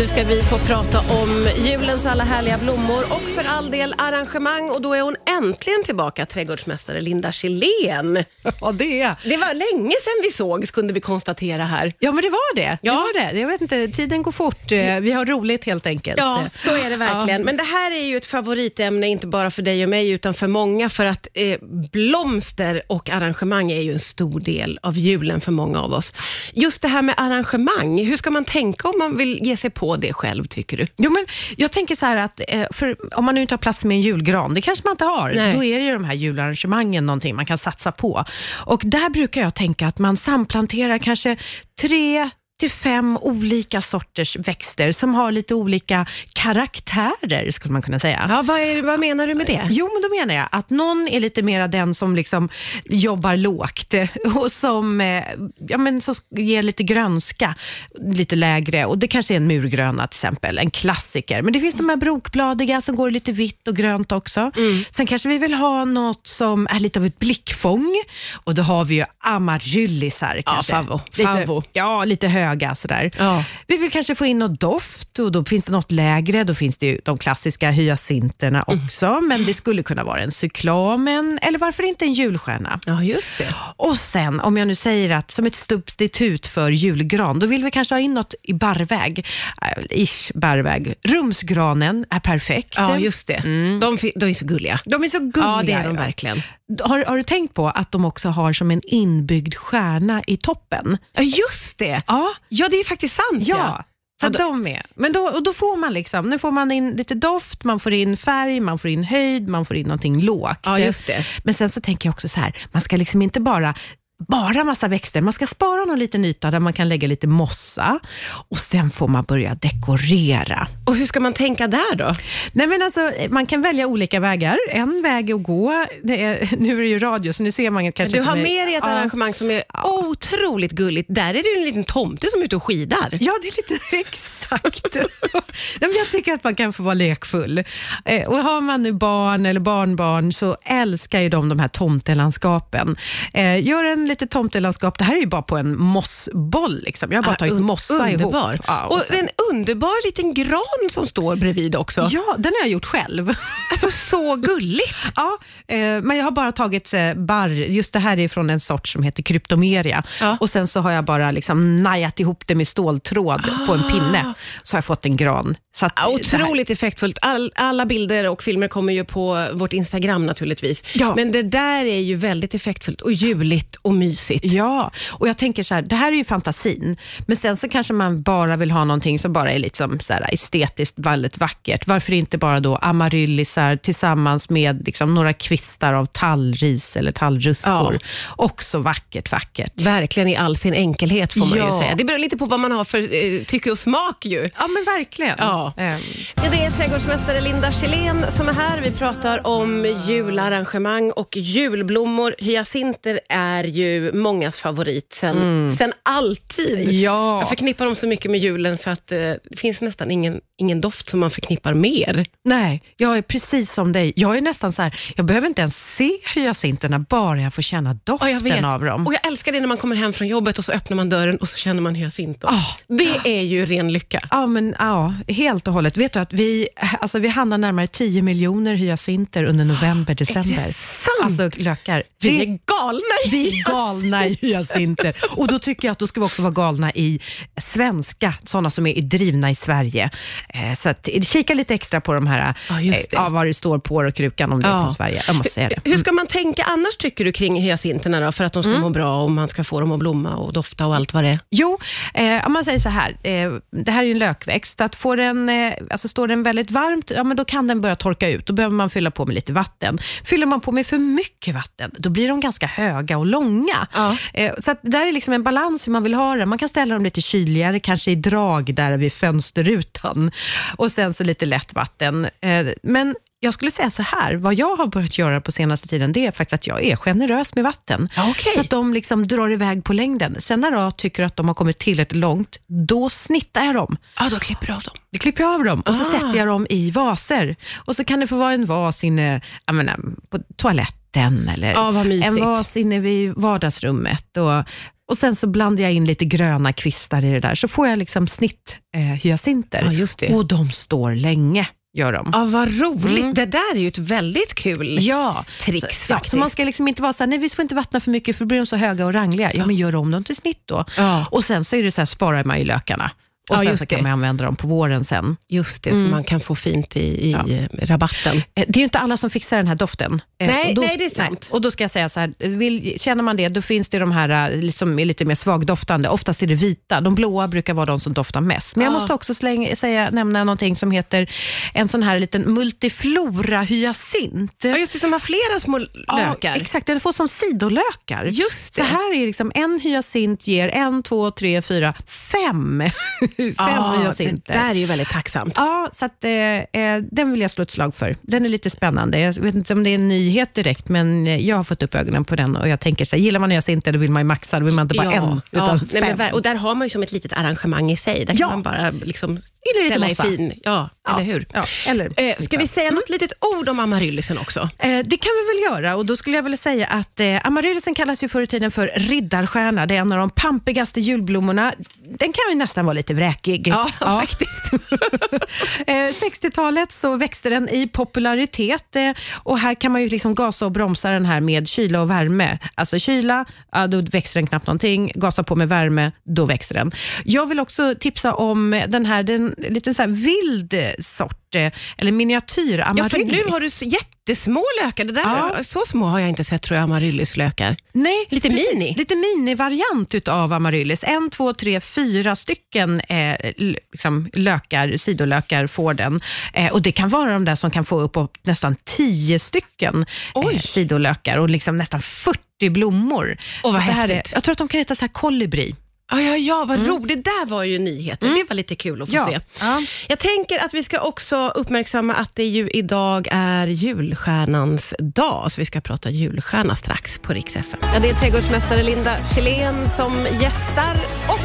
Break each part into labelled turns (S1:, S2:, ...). S1: Nu ska vi få prata om julens alla härliga blommor och för all del arrangemang och då är hon äntligen tillbaka, trädgårdsmästare Linda Kilén.
S2: Ja, det är
S1: Det var länge sedan vi sågs kunde vi konstatera här.
S2: Ja, men det var det.
S1: Ja.
S2: det, var det. Jag vet inte, tiden går fort. Eh, Vi har roligt helt enkelt.
S1: Eh,
S2: Eh,
S1: Ja, så är det verkligen. Men det här är ju ett favoritämne, inte bara för dig och mig, utan för många, för att eh, blomster och arrangemang är ju en stor del av julen för många av oss. Just det här med arrangemang, hur ska man tänka om man vill ge sig på det själv, tycker du?
S2: Jo, men jag tänker så här att eh, för, om man nu inte har plats med en julgran, det kanske man inte har,
S1: Nej.
S2: då är det ju de här jularrangemangen någonting man kan satsa på. Och där brukar jag tänka att man samplanterar kanske tre till fem olika sorters växter som har lite olika karaktärer, skulle man kunna säga.
S1: Ja, vad, är, vad menar du med det?
S2: Jo, men då menar jag att någon är lite mera den som liksom jobbar lågt eh, och som, eh, ja, men som ger lite grönska, lite lägre. Och Det kanske är en murgröna till exempel, en klassiker. Men det finns de här brokbladiga som går lite vitt och grönt också. Sen kanske vi vill ha något som är lite av ett blickfång och då har vi ju amaryllisar. kanske.
S1: favo, favo.
S2: Lite, ja, lite höga sådär.
S1: Ja.
S2: Vi vill kanske få in något doft och då finns det något lägre. Då finns det ju de klassiska hyacinterna
S1: Mm.
S2: också, men det skulle kunna vara en cyklamen eller varför inte en julstjärna?
S1: Ja, just det.
S2: Och sen, om jag nu säger att som ett substitut för julgran, då vill vi kanske ha in något i barrväg. Äh, Ish, barrväg. Rumsgranen är perfekt.
S1: Ja, just det. De, fi- de är så Mm. gulliga.
S2: De är så gulliga.
S1: Ja, det är de verkligen.
S2: Har, har du tänkt på att de också har som en inbyggd stjärna i toppen?
S1: Ja, just det.
S2: Ja,
S1: Ja, det är faktiskt sant.
S2: Ja,
S1: Ja,
S2: så att de är. Men då, och då får man liksom, nu får man in lite doft, man får in färg, man får in höjd, man får in någonting lågt.
S1: Ja, just det.
S2: Men sen så tänker jag också så här, man ska liksom inte bara bara massa växter. Man ska spara någon liten yta där man kan lägga lite mossa och sen får man börja dekorera.
S1: Och hur ska man tänka där då?
S2: Nej, men alltså, man kan välja olika vägar. En väg är att gå, det är, nu är det ju radio så nu ser man kanske
S1: Du
S2: inte
S1: har
S2: mig.
S1: med dig ett
S2: Ja.
S1: arrangemang som är otroligt gulligt. Där är det ju en liten tomte som är ute och skidar.
S2: Ja, det är lite exakt. Nej, men jag tycker att man kan få vara lekfull. Eh, och har man nu barn eller barnbarn så älskar ju de de här tomtelandskapen. Eh, gör en lite tomtelandskap. Det här är ju bara på en mossboll. Liksom. Jag har bara
S1: Ah,
S2: tagit
S1: un-
S2: mossa
S1: underbar.
S2: ihop. Ja,
S1: och
S2: och sen-
S1: en underbar liten gran som står bredvid också.
S2: ja, den har jag gjort själv.
S1: Alltså så gulligt.
S2: Ja, eh, men jag har bara tagit eh, barr. Just det här är från en sort som heter kryptomeria.
S1: Ja.
S2: Och sen så har jag bara liksom najat ihop det med ståltråd på en pinne. Så har jag fått en gran. Så att,
S1: Ja,
S2: eh, det här-
S1: Ah. Otroligt effektfullt. All, alla bilder och filmer kommer ju på vårt Instagram naturligtvis.
S2: Ja.
S1: Men det där är ju väldigt effektfullt och juligt och mysigt.
S2: Ja, och jag tänker så här, det här är ju fantasin, men sen så kanske man bara vill ha någonting som bara är liksom så här estetiskt väldigt vackert. Varför inte bara då amaryllisar tillsammans med liksom några kvistar av tallris eller tallruskor. Också vackert, vackert.
S1: Verkligen i all sin enkelhet får man ju
S2: Ja.
S1: säga. Det beror lite på vad man har för eh, tycke och smak ju.
S2: Ja, men verkligen.
S1: Ja.
S2: Ehm.
S1: Ja, det är trädgårdsmästare Linda Kilén som är här. Vi pratar om jularrangemang och julblommor. Hyacinter är ju mångas favorit sen, sen alltid.
S2: Ja.
S1: Jag förknippar dem så mycket med julen så att eh, det finns nästan ingen, ingen doft som man förknippar mer.
S2: Nej, jag är precis som dig. Jag är nästan så här, jag behöver inte ens se hyacinterna, bara jag får känna
S1: Ja,
S2: doften
S1: jag vet.
S2: av dem.
S1: Och jag älskar det när man kommer hem från jobbet och så öppnar man dörren och så känner man hyacinter.
S2: Ah.
S1: Det är ju ren lycka.
S2: Ja, men, ja, helt och hållet. Vet du att vi, alltså, vi handlar närmare 10 miljoner hyacinter under november, december.
S1: sant?
S2: Alltså lökar.
S1: Vi är
S2: Det-
S1: galna i
S2: vi är galna i hyacinter. Och då tycker jag att då ska vi också vara galna i svenska, sådana som är drivna i Sverige. Eh, Så att, kika lite extra på de här,
S1: Ja, just
S2: eh,
S1: det.
S2: ja, vad det står på och krukan om det
S1: Ja.
S2: är från Sverige. Jag måste säga det.
S1: Hur ska man tänka annars tycker du kring hyacinterna då, för att de ska må bra och man ska få dem att blomma och dofta och allt vad det är?
S2: Jo, eh, om man säger så här, eh, det här är ju en lökväxt. Att får den, eh, alltså står den väldigt varmt, ja, men då kan den börja torka ut. Då behöver man fylla på med lite vatten. Fyller man på med för mycket vatten, då blir de ganska höga och långa.
S1: Ja.
S2: Eh, så att det där är liksom en balans hur man vill ha det. Man kan ställa dem lite kyligare, kanske i drag där vid fönsterrutan. Och sen så lite lätt vatten. Eh, men jag skulle säga så här, vad jag har börjat göra på senaste tiden, det är faktiskt att jag är generös med vatten.
S1: Ja, okej.
S2: Så att de liksom drar iväg på längden. Sen när jag tycker att de har kommit tillräckligt långt, då snittar jag dem.
S1: Ja, då klipper du av dem.
S2: Då klipper jag av dem och så
S1: Ah.
S2: sätter jag dem i vaser. Och så kan det få vara en vas inne jag menar, på toaletten eller
S1: Ja, vad mysigt.
S2: en vas inne vid vardagsrummet. Och Och sen så blandar jag in lite gröna kvistar i det där, så får jag liksom snitt eh, hyacinter.
S1: Ja, just det.
S2: Och de står länge, gör de.
S1: Ja, vad roligt. Det där är ju ett väldigt kul
S2: Ja,
S1: tricks
S2: så, ja,
S1: faktiskt.
S2: så man ska liksom inte vara så här, nej vi får inte vattna för mycket för då blir de så höga och rangliga. Ja, men gör om dem till snitt då.
S1: Ja.
S2: Och sen så är det så här, sparar man ju lökarna. Och
S1: Ja,
S2: sen
S1: just
S2: så kan
S1: det.
S2: man använda dem på våren sen.
S1: Just det, mm. som man kan få fint i, i eh, rabatten.
S2: Eh, Det är ju inte alla som fixar den här doften. Eh,
S1: Nej,
S2: och då,
S1: nej, det är sant.
S2: Och då ska jag säga så här, vill, känner man det, då finns det de här eh, som är lite mer svagdoftande. Oftast är det vita. De blåa brukar vara de som doftar mest. Men jag
S1: Ja.
S2: måste också slänga, säga, nämna någonting som heter en sån här liten multiflora hyacint.
S1: Ja, just det, som har flera små lökar.
S2: Ja, exakt, den får som sidolökar.
S1: Just
S2: Så
S1: det.
S2: här är liksom en hyacint ger en, två, tre, fyra, fem. fem
S1: Ja,
S2: hyacinter.
S1: Det där är ju väldigt tacksamt.
S2: Ja, så att, eh, eh, den vill jag slå ett slag för. Den är lite spännande. Jag vet inte om det är en nyhet direkt, men eh, jag har fått upp ögonen på den och jag tänker så här, gillar man hyacinter då vill man ju maxa, då vill man inte bara en, utan
S1: Nej, men,
S2: fem.
S1: ver- och där har man ju som ett litet arrangemang i sig. Där kan
S2: Ja.
S1: man bara liksom
S2: lite
S1: ställa i
S2: mossa.
S1: fin... Ja,
S2: Ja,
S1: eller hur?
S2: ja, eller
S1: eh, ska
S2: snygga.
S1: vi säga något litet ord om amaryllisen också?
S2: Eh, Det kan vi väl göra och då skulle jag vilja säga att eh, amaryllisen kallas ju förr i tiden för riddarstjärna. Det är en av de pampigaste julblommorna. Den kan ju nästan vara lite vräkig.
S1: Ja, faktiskt.
S2: Eh, 60-talet så växte den i popularitet eh, och här kan man ju liksom gasa och bromsa den här med kyla och värme. Alltså kyla, ja, då växer den knappt någonting. Gasa på med värme, då växer den. Jag vill också tipsa om eh, den här, den lite så här vild eh, sort, eh, eller miniatyr
S1: Ja, för
S2: amaryllis.
S1: nu har du så jättesmå lökar. Det där,
S2: Ja.
S1: Så små har jag inte sett tror jag, amaryllislökar.
S2: Nej,
S1: Lite
S2: precis.
S1: mini.
S2: Lite minivariant utav amaryllis. En, två, tre, fyra stycken eh, l- liksom lökar, sidolökar får den. Eh, och Det kan vara de där som kan få upp, upp nästan tio stycken eh,
S1: Oj.
S2: sidolökar och liksom nästan 40 blommor.
S1: Åh, vad
S2: Så det här är,
S1: häftigt.
S2: jag tror att de kan heta så här kolibri.
S1: Ja, ja, ja vad roligt. Det där var ju nyheter. Det var lite kul att få
S2: Ja.
S1: se.
S2: Ja.
S1: Jag tänker att vi ska också uppmärksamma att det ju idag är julstjärnans dag, så vi ska prata julstjärna strax på Rix FM. Ja, det är trädgårdsmästare Linda Källén som gästar och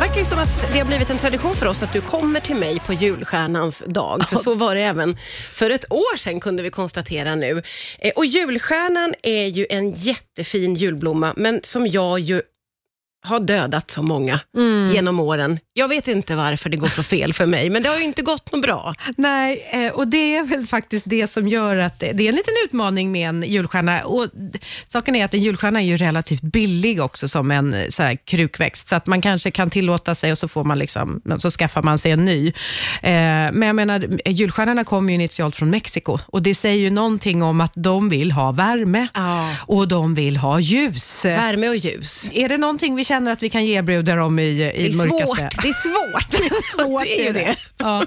S1: verkar ju som att det har blivit en tradition för oss att du kommer till mig på julstjärnans dag, för så var det även för ett år sedan kunde vi konstatera nu. Eh, Och julstjärnan är ju en jättefin julblomma, men som jag ju har dödat så många
S2: Mm.
S1: genom åren. Jag vet inte varför det går så fel för mig, men det har ju inte gått något bra.
S2: Nej, eh, och det är väl faktiskt det som gör att det det är en liten utmaning med en julstjärna. Och d- saken är att en julstjärna är ju relativt billig också som en eh, så här, krukväxt, så att man kanske kan tillåta sig och så, får man liksom, så skaffar man sig en ny. Eh, Men jag menar, eh, julstjärnorna kommer ju initialt från Mexiko och det säger ju någonting om att de vill ha värme
S1: Ja.
S2: och de vill ha ljus.
S1: Värme och ljus.
S2: Är det någonting vi känner att vi kan erbjuda dem i,
S1: Det
S2: i
S1: är
S2: mörkaste?
S1: svårt. Det är svårt. Det är,
S2: svårt
S1: ju det.
S2: Ja.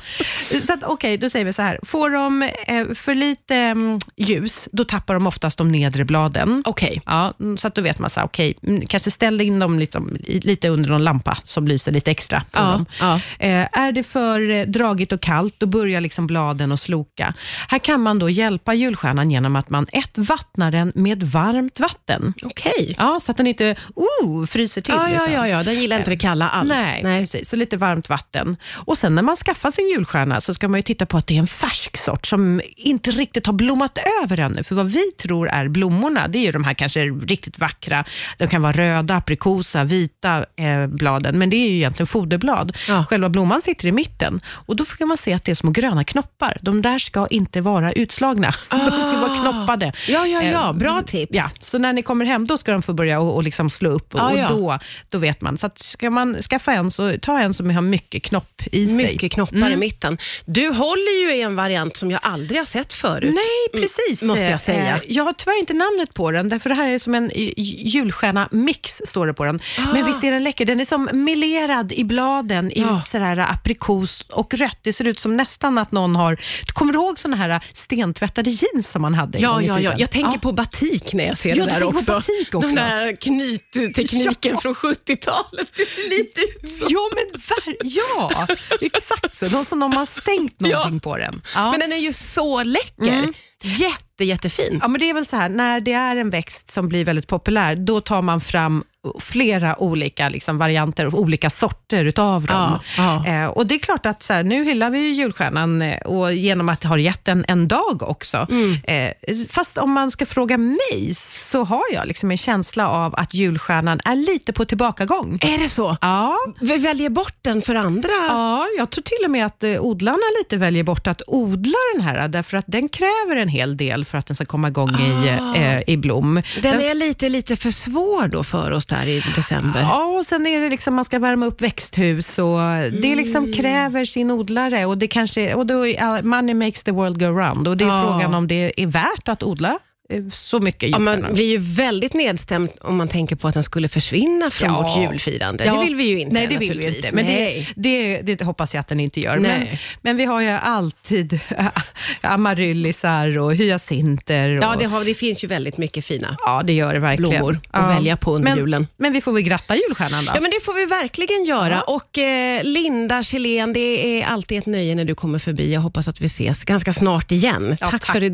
S2: Så att, okej, då säger vi så här. Får de eh, för lite mm, ljus, då tappar de oftast de nedre bladen.
S1: Okej.
S2: Ja, mm, så att då vet man så här, okej, mm, kanske ställ in dem liksom, i- lite under någon lampa som lyser lite extra på
S1: Ja,
S2: dem.
S1: ja.
S2: Eh, är det för eh, dragigt och kallt, då börjar liksom bladen att sloka. Här kan man då hjälpa julstjärnan genom att man ett, vattnar den med varmt vatten.
S1: Okej.
S2: Ja, så att den inte oh, fryser till.
S1: Ja, ja,
S2: utan-
S1: ja, ja, den gillar inte det kalla alls.
S2: Eh. Nej, precis. Så lite varmt vatten. Och sen när man skaffar sin julstjärna så ska man ju titta på att det är en färsk sort som inte riktigt har blommat över ännu. För vad vi tror är blommorna, det är ju de här kanske riktigt vackra. De kan vara röda, aprikosa, vita eh, bladen, men det är ju egentligen foderblad.
S1: Ja.
S2: Själva blomman sitter i mitten och då kan man se att det är små gröna knoppar. De där ska inte vara utslagna. De ska vara knoppade.
S1: Ah. Ja, ja, ja.
S2: Eh,
S1: Bra tips.
S2: Ja, så när ni kommer hem, då ska de få börja och, och liksom slå upp och,
S1: Ja, Ah, ja.
S2: och då, då vet man. Så att ska man skaffa en, så ta en som har mycket knopp i sig.
S1: Mycket knoppar
S2: Mm.
S1: i mitten. Du håller ju i en variant som jag aldrig har sett förut.
S2: Nej, precis.
S1: Mm, måste jag säga.
S2: Eh, Jag har tyvärr inte namnet på den, därför det här är som en j- julstjärna-mix, står det på den.
S1: Ah.
S2: Men visst är den läcker? Den är som melerad i bladen i
S1: Ja.
S2: sådär eh, aprikos och rött. Det ser ut som nästan att någon har... Kommer du ihåg sådana här eh, stentvättade jeans som man hade en
S1: Ja,
S2: gång i
S1: ja, ja.
S2: tiden?
S1: Jag tänker
S2: Ja.
S1: på batik när jag ser
S2: Ja,
S1: det
S2: du
S1: där
S2: tänker på
S1: också.
S2: batik också.
S1: Den där knyttekniken
S2: Ja.
S1: från 70-talet. Det ser lite ut så.
S2: Ja, men ver- ja, exakt så. De som de har stängt någonting på den. Ja. Mm.
S1: Men den är ju så läcker. Jätte, jättefin.
S2: ja, men det är väl så här, när det är en växt som blir väldigt populär, då tar man fram flera olika liksom, varianter och olika sorter utav dem.
S1: Ja, ja.
S2: Eh, och det är klart att så här, nu hyllar vi ju julstjärnan eh, och genom att det har gett en, en dag också. Eh, fast om man ska fråga mig så har jag liksom en känsla av att julstjärnan är lite på tillbakagång.
S1: Är det så?
S2: Ja,
S1: Vi väljer bort den för andra?
S2: Ja, jag tror till och med att eh, odlarna lite väljer bort att odla den här, därför att den kräver en hel del för att den ska komma igång i,
S1: Ah.
S2: eh, i blom.
S1: Den är lite, lite för svår då för oss där i december.
S2: Ja, och sen är det liksom, man ska värma upp växthus och det
S1: Mm.
S2: liksom kräver sin odlare och det kanske, och då är, eh, money makes the world go round och det är
S1: Ja.
S2: frågan om det är värt att odla eh, så mycket
S1: Ja, man
S2: jordnötter.
S1: blir ju väldigt nedstämd om man tänker på att den skulle försvinna från
S2: Ja.
S1: vårt julfirande.
S2: Ja.
S1: Det vill vi ju inte
S2: Nej, det vill vi
S1: naturligtvis.
S2: inte. Men det,
S1: Nej.
S2: det, det hoppas jag att den inte gör. Men,
S1: Nej.
S2: men vi har ju alltid amaryllisar och hyacinter. Och,
S1: Ja, det, har, det finns ju väldigt mycket fina.
S2: Ja, det gör det verkligen.
S1: Blommor att
S2: ja.
S1: välja på under
S2: men,
S1: julen.
S2: Men vi får väl gratta julstjärnan då.
S1: Ja, men det får vi verkligen göra. Och eh, Linda Kjellén, det är alltid ett nöje när du kommer förbi. Jag hoppas att vi ses ganska snart igen.
S2: Ja,
S1: tack
S2: tack.
S1: för idag.